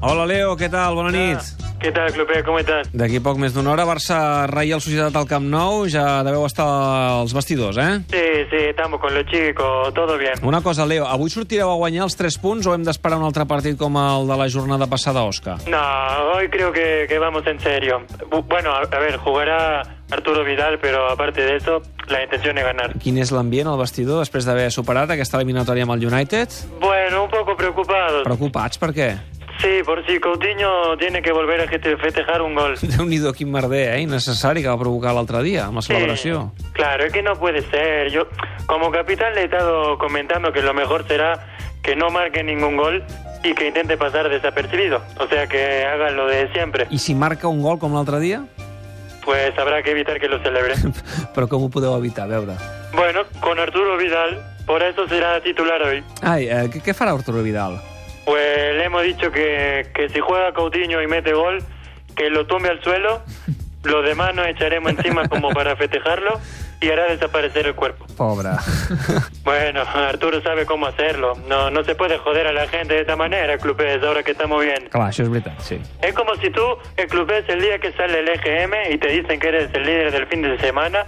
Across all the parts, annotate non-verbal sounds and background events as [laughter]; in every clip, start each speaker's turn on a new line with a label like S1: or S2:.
S1: Hola, Leo, què tal? Bona nit.
S2: Què tal, Clopé? Com estàs?
S1: D'aquí a poc més d'una hora, Barça, Reial Societat al Camp Nou. Ja deveu estar als vestidors, eh?
S2: Sí, sí, estamos con los chicos, todo bien.
S1: Una cosa, Leo, avui sortireu a guanyar els 3 punts o hem d'esperar un altre partit com el de la jornada passada, Òscar?
S2: No, hoy creo que, que vamos en serio. Bu- Bueno, a, a ver, jugará Arturo Vidal, pero aparte de eso, la intención es ganar.
S1: Quin és l'ambient al vestidor després d'haver superat aquesta eliminatòria amb el United?
S2: Bueno, un poco preocupados.
S1: Preocupats, per què? [laughs]
S2: Sí, por si Coutinho tiene que volver a gete- festejar un gol.
S1: Déu-n'hi-do, quin merder, eh? Innecessari que va provocar l'altre dia, amb la
S2: Sí,
S1: celebració.
S2: claro, es que no puede ser. Yo, como capitán, le he estado comentando que lo mejor será que no marque ningún gol y que intente pasar desapercibido. O sea, que haga lo de siempre.
S1: I si marca un gol com l'altre dia? [laughs]
S2: Pues habrá que evitar que lo celebre.
S1: Però com ho podeu evitar, a veure?
S2: Bueno, con Arturo Vidal, por eso será titular hoy.
S1: Ai, eh, què, què farà Arturo Vidal?
S2: Pues le hemos dicho que, que si juega Coutinho y mete gol, que lo tumbe al suelo, los demás nos echaremos encima como para festejarlo y hará desaparecer el cuerpo.
S1: [laughs] Pobre.
S2: Bueno, Arturo sabe cómo hacerlo. No, no se puede joder a la gente de esta manera, Clubes, ahora que estamos bien.
S1: Clar, això és veritat, sí.
S2: Es como si tú, el Clubes, el día que sale el EGM y te dicen que eres el líder del fin de semana,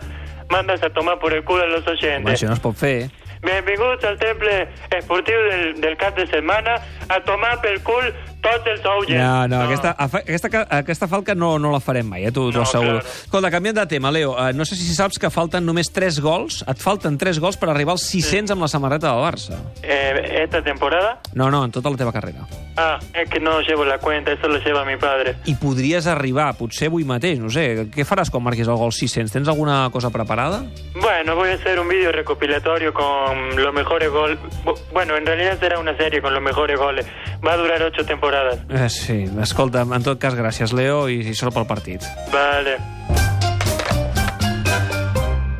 S2: mandas a tomar por el culo a los
S1: Home,
S2: oyentes.
S1: això no es pot fer.
S2: Benvinguts al temple esportiu del, del cap de setmana a tomar pel cul tots els oients.
S1: No, no, aquesta, afa- aquesta, ca- aquesta falca no, no la farem mai, eh, t'ho t'ho
S2: No,
S1: asseguro.
S2: claro.
S1: Escolta, canviant de tema, Leo, eh, no sé si saps que falten només 3 gols, et falten 3 gols per arribar als 600 amb la samarreta del Barça.
S2: Eh, ¿Esta temporada?
S1: No, no, en tota la teva carrera.
S2: Ah, es que no llevo la cuenta, eso lo lleva mi padre.
S1: I podries arribar, potser avui mateix, no sé, què faràs quan marquis el gol 600? Tens alguna cosa preparada?
S2: Bueno, voy a hacer un vídeo recopilatorio con los mejores goles. Bueno, en realidad será una serie con los mejores goles. Va a durar ocho temporadas.
S1: Eh, sí, escolta, en tot cas, gràcies, Leo, i, i sort pel partit.
S2: Vale.